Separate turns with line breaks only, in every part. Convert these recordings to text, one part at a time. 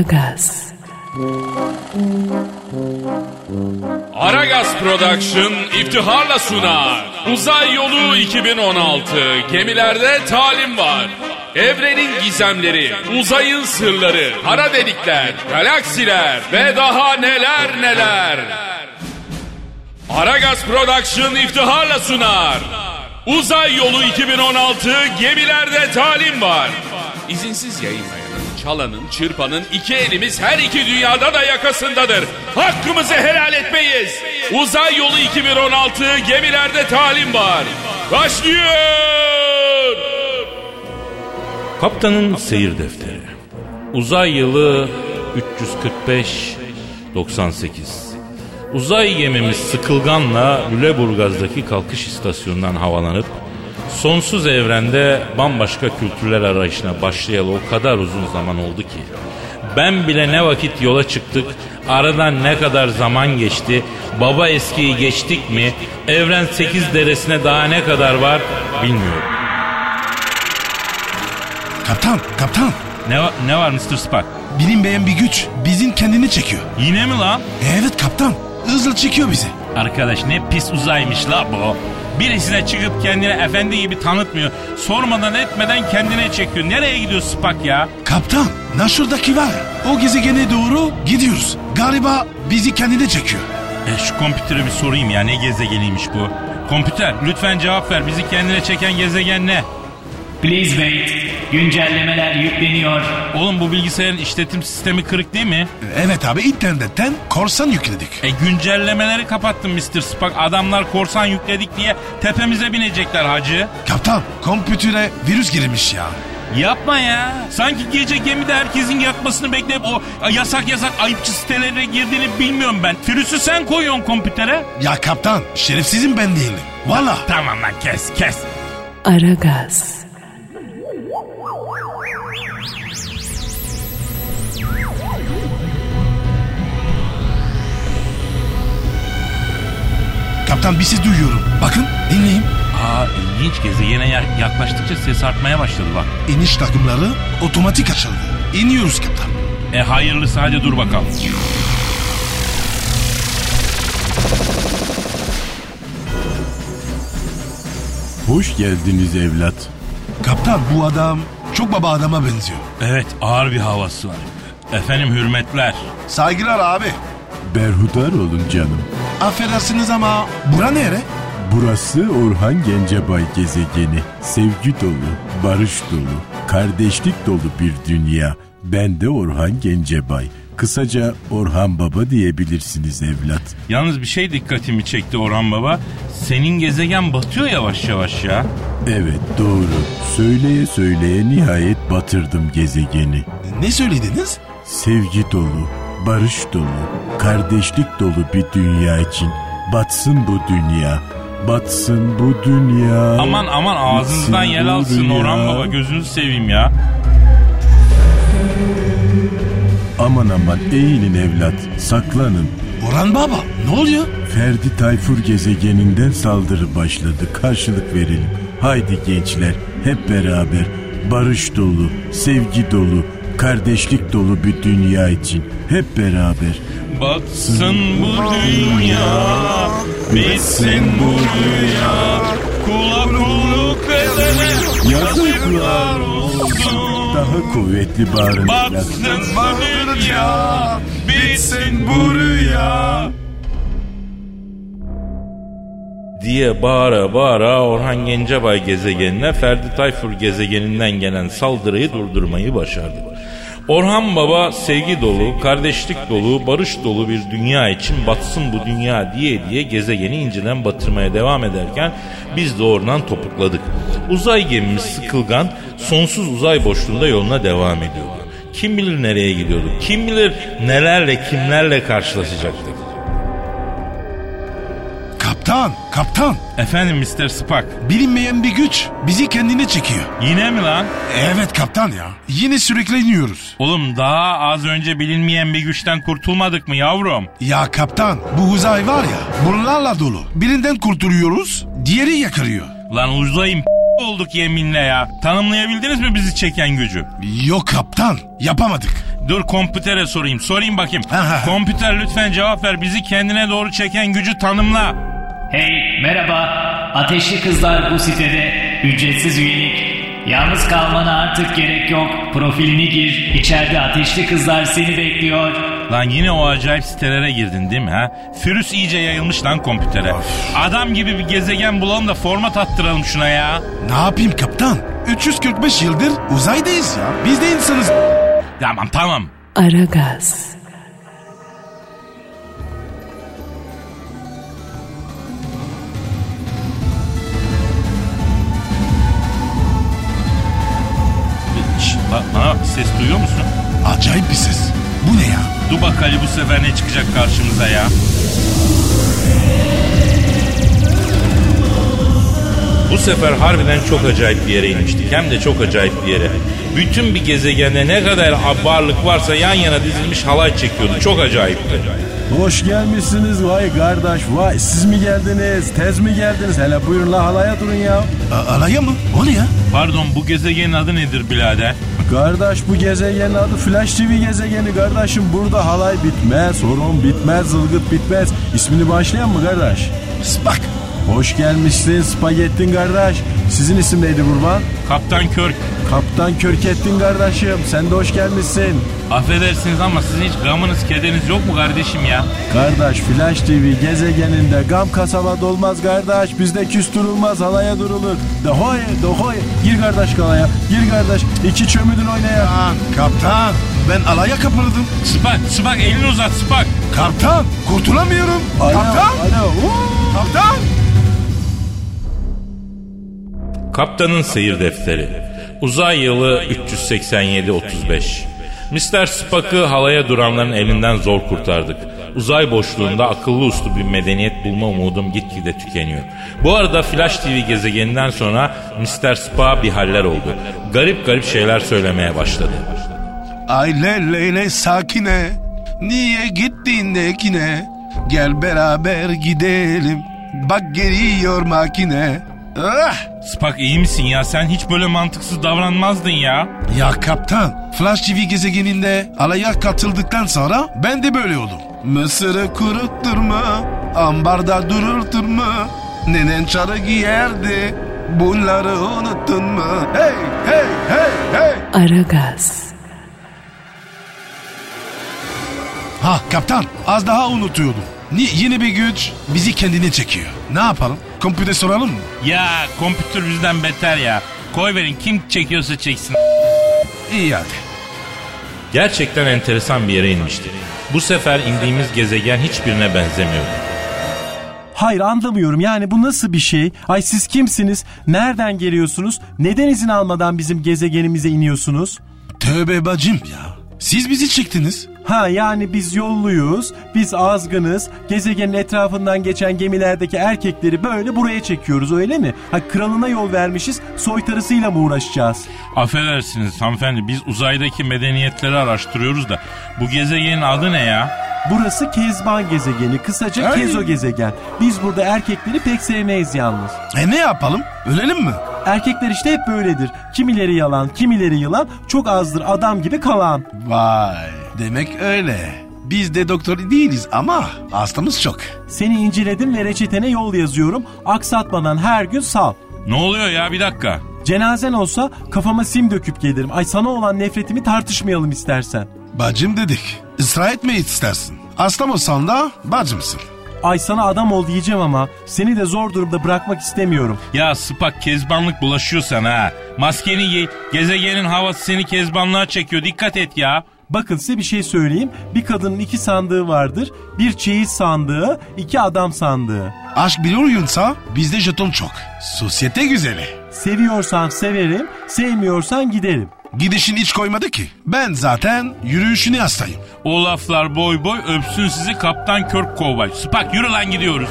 Aragaz,
Aragaz Production iftiharla sunar. Uzay Yolu 2016. Gemilerde talim var. Evrenin gizemleri, uzayın sırları, kara delikler, galaksiler ve daha neler neler. Aragaz Production iftiharla sunar. Uzay Yolu 2016 gemilerde talim var. İzinsiz yayınlayanın, çalanın, çırpanın iki elimiz her iki dünyada da yakasındadır. Hakkımızı helal etmeyiz. Uzay Yolu 2016 gemilerde talim var. Başlıyor.
Kaptanın Seyir Defteri Uzay yılı 345 98 Uzay gemimiz Sıkılgan'la Lüleburgaz'daki kalkış istasyonundan havalanıp sonsuz evrende bambaşka kültürler arayışına başlayalı o kadar uzun zaman oldu ki ben bile ne vakit yola çıktık, aradan ne kadar zaman geçti, baba eskiyi geçtik mi, evren 8 deresine daha ne kadar var bilmiyorum.
Kaptan, kaptan.
Ne, va- ne var Mr. Spock?
Bilinmeyen bir güç bizim kendini çekiyor. E
Yine mi lan?
Evet kaptan. Hızlı çekiyor bizi.
Arkadaş ne pis uzaymış la bu. Birisine çıkıp kendini efendi gibi tanıtmıyor. Sormadan etmeden kendine çekiyor. Nereye gidiyor Spock ya?
Kaptan, Naşır'daki var ya, o gezegene doğru gidiyoruz. Galiba bizi kendine çekiyor.
E, şu kompütüre bir sorayım ya ne gezegeniymiş bu? Kompüter lütfen cevap ver. Bizi kendine çeken gezegen ne?
Please wait. Güncellemeler yükleniyor.
Oğlum bu bilgisayarın işletim sistemi kırık değil mi?
Evet abi internetten korsan yükledik.
E güncellemeleri kapattın Mr. Spock. Adamlar korsan yükledik diye tepemize binecekler hacı.
Kaptan, kompütüre virüs girmiş ya.
Yapma ya. Sanki gece gemide herkesin yatmasını bekleyip o yasak yasak ayıpçı sitelere girdiğini bilmiyorum ben. Virüsü sen koyuyorsun kompütere.
Ya kaptan, şerefsizim ben değilim. Valla.
Tamam lan kes kes.
Aragaz,
Kaptan bir ses duyuyorum. Bakın, dinleyin.
Aa ilginç gezegene yak- yaklaştıkça ses artmaya başladı bak.
İniş takımları otomatik açıldı. İniyoruz kaptan.
E hayırlısı hadi dur bakalım.
Hoş geldiniz evlat.
Kaptan bu adam çok baba adama benziyor.
Evet ağır bir havası var. Efendim hürmetler.
Saygılar abi.
Berhudar olun canım.
Affedersiniz ama bura nere?
Burası Orhan Gencebay gezegeni. Sevgi dolu, barış dolu, kardeşlik dolu bir dünya. Ben de Orhan Gencebay. Kısaca Orhan Baba diyebilirsiniz evlat.
Yalnız bir şey dikkatimi çekti Orhan Baba. Senin gezegen batıyor yavaş yavaş ya.
Evet doğru. Söyleye söyleye nihayet batırdım gezegeni.
Ne söylediniz?
Sevgi dolu, barış dolu, kardeşlik dolu bir dünya için. Batsın bu dünya. Batsın bu dünya.
Aman aman ağzınızdan
Bitsin
yel
bu
alsın
dünya.
Orhan Baba gözünüzü seveyim ya.
Aman aman eğilin evlat, saklanın.
Orhan Baba ne oluyor?
Ferdi Tayfur gezegeninden saldırı başladı. Karşılık verelim. Haydi gençler, hep beraber. Barış dolu, sevgi dolu, kardeşlik dolu bir dünya için. Hep beraber.
Batsın bu dünya, bitsin bu dünya. Kula kulluk edene
Yazıklar olsun. Daha kuvvetli bağırın. evlat.
batsın bu dünya, bitsin bu rüya. diye bağıra bağıra Orhan Gencebay gezegenine Ferdi Tayfur gezegeninden gelen saldırıyı durdurmayı başardı. Orhan Baba sevgi dolu, kardeşlik dolu, barış dolu bir dünya için batsın bu dünya diye diye gezegeni inceden batırmaya devam ederken biz de oradan topukladık. Uzay gemimiz sıkılgan sonsuz uzay boşluğunda yoluna devam ediyordu. Kim bilir nereye gidiyorduk, kim bilir nelerle kimlerle karşılaşacaktık.
Kaptan, kaptan.
Efendim Mr. Spock,
Bilinmeyen bir güç bizi kendine çekiyor.
yine mi lan?
Evet kaptan ya. Yine sürükleniyoruz.
Oğlum daha az önce bilinmeyen bir güçten kurtulmadık mı yavrum?
Ya kaptan bu uzay var ya bunlarla dolu. Birinden kurtuluyoruz diğeri yakarıyor.
Lan uzayım olduk yeminle ya. Tanımlayabildiniz mi bizi çeken gücü?
Yok kaptan yapamadık.
Dur kompütere sorayım. Sorayım bakayım.
Aha.
Kompüter lütfen cevap ver. Bizi kendine doğru çeken gücü tanımla.
Hey merhaba. Ateşli Kızlar bu sitede ücretsiz üyelik. Yalnız kalmana artık gerek yok. Profilini gir. İçeride Ateşli Kızlar seni bekliyor.
Lan yine o acayip sitelere girdin değil mi ha? Firüs iyice yayılmış lan kompütere. Adam gibi bir gezegen bulalım da format attıralım şuna ya.
Ne yapayım kaptan? 345 yıldır uzaydayız ya. Biz de insanız.
Tamam tamam.
Aragaz.
Şşt, ba- bana bak, ses duyuyor musun?
Acayip bir ses. Bu ne ya?
Dur bakalım bu sefer ne çıkacak karşımıza ya. Bu sefer harbiden çok acayip bir yere inmiştik. Hem de çok acayip bir yere. Bütün bir gezegende ne kadar varlık varsa yan yana dizilmiş halay çekiyordu. Çok acayipti.
Hoş gelmişsiniz vay kardeş vay siz mi geldiniz tez mi geldiniz hele buyurun la halaya durun ya.
A- alaya mı? O ne ya?
Pardon bu gezegenin adı nedir birader?
Kardeş bu gezegenin adı Flash TV gezegeni kardeşim burada halay bitmez horon bitmez zılgıt bitmez ismini başlayan mı kardeş?
Spak.
Hoş gelmişsin spagettin kardeş sizin isim neydi kurban?
Kaptan Körk.
Kaptan Körkettin kardeşim sen de hoş gelmişsin.
Affedersiniz ama sizin hiç gamınız kederiniz yok mu kardeşim ya?
Kardeş Flash TV gezegeninde gam kasaba dolmaz kardeş. Bizde küs durulmaz halaya durulur. Dahoy dahoy. Gir kardeş kalaya. Gir kardeş. iki çömüdün oynaya.
Lan kaptan ben alaya kapıldım.
Spak, Spak elini uzat Spak.
Kaptan kurtulamıyorum.
Alo,
kaptan.
alo. Uuu.
Kaptan.
Kaptanın Seyir Defteri Uzay yılı 387-35 Mr. Spock'ı halaya duranların elinden zor kurtardık. Uzay boşluğunda akıllı uslu bir medeniyet bulma umudum gitgide tükeniyor. Bu arada Flash TV gezegeninden sonra Mr. Spock'a bir haller oldu. Garip garip şeyler söylemeye başladı.
Ay le le le sakine. Niye gittin nekine? Gel beraber gidelim. Bak geliyor makine. Ah!
Spock iyi misin ya? Sen hiç böyle mantıksız davranmazdın ya.
Ya kaptan, Flash TV gezegeninde alaya katıldıktan sonra ben de böyle oldum. Mısırı kurutturma, ambarda dururturma, nenen çarı giyerdi. Bunları unuttun mu? Hey, hey, hey, hey!
Aragaz.
Ha kaptan, az daha unutuyordum. Ni yeni bir güç bizi kendine çekiyor. Ne yapalım? Kompüte soralım mı?
Ya kompütür bizden beter ya. Koy verin kim çekiyorsa çeksin.
İyi hadi.
Gerçekten enteresan bir yere inmişti. Bu sefer indiğimiz gezegen hiçbirine benzemiyordu.
Hayır anlamıyorum yani bu nasıl bir şey? Ay siz kimsiniz? Nereden geliyorsunuz? Neden izin almadan bizim gezegenimize iniyorsunuz?
Tövbe bacım ya. Siz bizi çektiniz.
Ha yani biz yolluyuz, biz azgınız, gezegenin etrafından geçen gemilerdeki erkekleri böyle buraya çekiyoruz öyle mi? Ha kralına yol vermişiz, soytarısıyla mı uğraşacağız?
Affedersiniz hanımefendi biz uzaydaki medeniyetleri araştırıyoruz da bu gezegenin adı ne ya?
Burası Kezban gezegeni, kısaca
Ay.
Kezo gezegen. Biz burada erkekleri pek sevmeyiz yalnız.
E ne yapalım? Ölelim mi?
Erkekler işte hep böyledir. Kimileri yalan, kimileri yılan, çok azdır adam gibi kalan.
Vay. Demek öyle. Biz de doktor değiliz ama hastamız çok.
Seni inceledim ve reçetene yol yazıyorum. Aksatmadan her gün sal.
Ne oluyor ya bir dakika.
Cenazen olsa kafama sim döküp gelirim. Ay sana olan nefretimi tartışmayalım istersen.
Bacım dedik. Israr etme istersin. Hasta mısın da bacımsın.
Ay sana adam ol diyeceğim ama seni de zor durumda bırakmak istemiyorum.
Ya Spak kezbanlık bulaşıyor sana ha. Maskeni giy gezegenin havası seni kezbanlığa çekiyor dikkat et ya.
Bakın size bir şey söyleyeyim. Bir kadının iki sandığı vardır. Bir çeyiz sandığı, iki adam sandığı.
Aşk bir oyunsa bizde jeton çok. Sosyete güzeli.
Seviyorsan severim, sevmiyorsan giderim.
Gidişini hiç koymadı ki. Ben zaten yürüyüşüne hastayım.
O laflar boy boy öpsün sizi kaptan körk kovboy. Spak yürü lan gidiyoruz.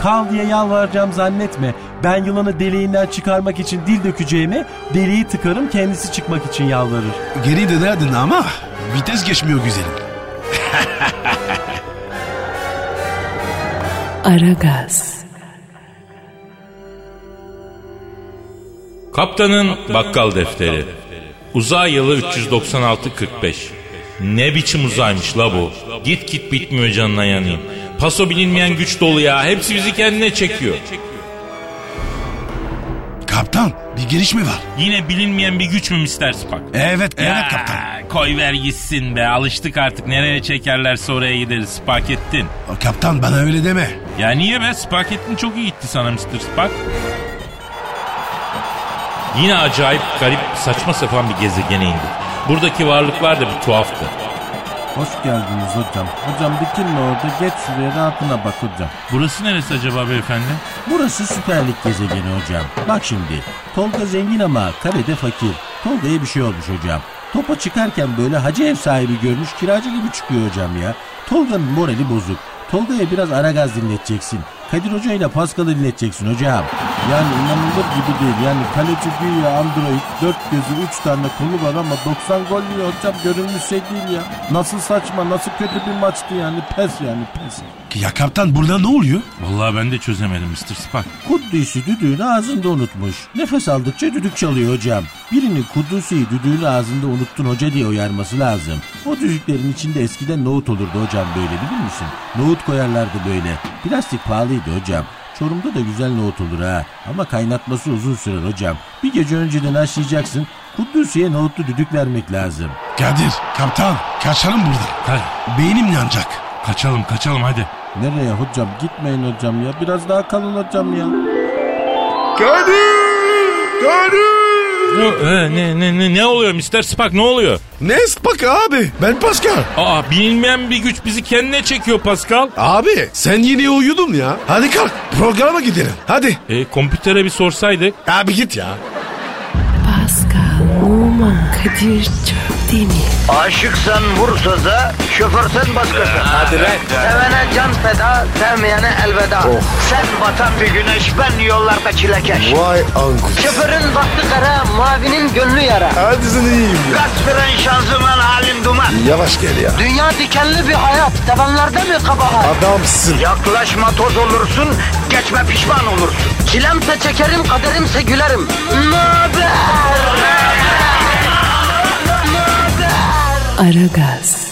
Kal diye yalvaracağım zannetme. Ben yılanı deliğinden çıkarmak için dil dökeceğime deliği tıkarım kendisi çıkmak için yalvarır.
Geri de derdin ama vites geçmiyor güzelim.
Aragaz.
Kaptanın bakkal defteri. Uzay yılı 396-45. Ne biçim uzaymış la bu. Git git bitmiyor canına yanayım. Paso bilinmeyen güç dolu ya. Hepsi bizi kendine çekiyor.
Kaptan bir giriş mi var?
Yine bilinmeyen bir güç mü Mr. Spock?
Evet evet
Ya,
kaptan.
Koy ver gitsin be. Alıştık artık. Nereye çekerlerse oraya gideriz. Spock ettin.
O kaptan bana öyle deme.
Ya niye be? Spock ettin çok iyi gitti sana Mr. Spock. Yine acayip garip saçma sapan bir gezegene indik. Buradaki varlıklar da bir tuhaftı.
Hoş geldiniz hocam. Hocam dikinle orada geç şuraya rahatına bak hocam.
Burası neresi acaba beyefendi?
Burası Süper Lig gezegeni hocam. Bak şimdi. Tolga zengin ama kalede fakir. Tolga'ya bir şey olmuş hocam. Topa çıkarken böyle hacı ev sahibi görmüş kiracı gibi çıkıyor hocam ya. Tolga'nın morali bozuk. Tolga'ya biraz ara gaz dinleteceksin. Kadir Hoca ile Paskal'ı dinleteceksin hocam. Yani inanılır gibi değil. Yani kaleci güya Android, dört gözü, üç tane kolu var ama 90 gol yiyor hocam. Görülmüş şey değil ya. Nasıl saçma, nasıl kötü bir maçtı yani. Pes yani pes.
Ya kaptan burada ne oluyor?
Vallahi ben de çözemedim Mr. Spock.
Kuddüs'ü düdüğünü ağzında unutmuş. Nefes aldıkça düdük çalıyor hocam. Birinin Kuddüs'ü düdüğünü ağzında unuttun hoca diye uyarması lazım. O düdüklerin içinde eskiden nohut olurdu hocam böyle bilir misin? Nohut koyarlardı böyle. Plastik pahalıydı hocam. Çorum'da da güzel nohut olur ha. Ama kaynatması uzun sürer hocam. Bir gece önceden haşlayacaksın. Kuddüs'e nohutlu düdük vermek lazım.
Kadir kaptan kaçalım buradan. Beynim yanacak.
kaçalım kaçalım hadi.
Nereye hocam? Gitmeyin hocam ya. Biraz daha kalın hocam ya.
e, ne, ne, ne, ne oluyor Mr. Spock ne oluyor?
Ne Spock abi? Ben Pascal.
Aa bilinmeyen bir güç bizi kendine çekiyor Pascal.
Abi sen yine uyudun ya. Hadi kalk programa gidelim. Hadi.
E, kompütere bir sorsaydık.
Abi git ya.
Pascal, Oman, Kadir çok değil mi?
Aşıksan vursa da şoförsen başkasın. Hadi lan. Sevene can feda, sevmeyene elveda. Sen batan bir güneş, ben yollarda çilekeş.
Vay anku.
Şoförün baktı kara, mavinin gönlü yara.
Hadi sen iyiyim ya.
Kasperen şanzıman halin duman.
Yavaş gel ya.
Dünya dikenli bir hayat, sevenlerde mi kabahar?
Adamsın.
Yaklaşma toz olursun, geçme pişman olursun. Çilemse çekerim, kaderimse gülerim. Möber!
Aragaz.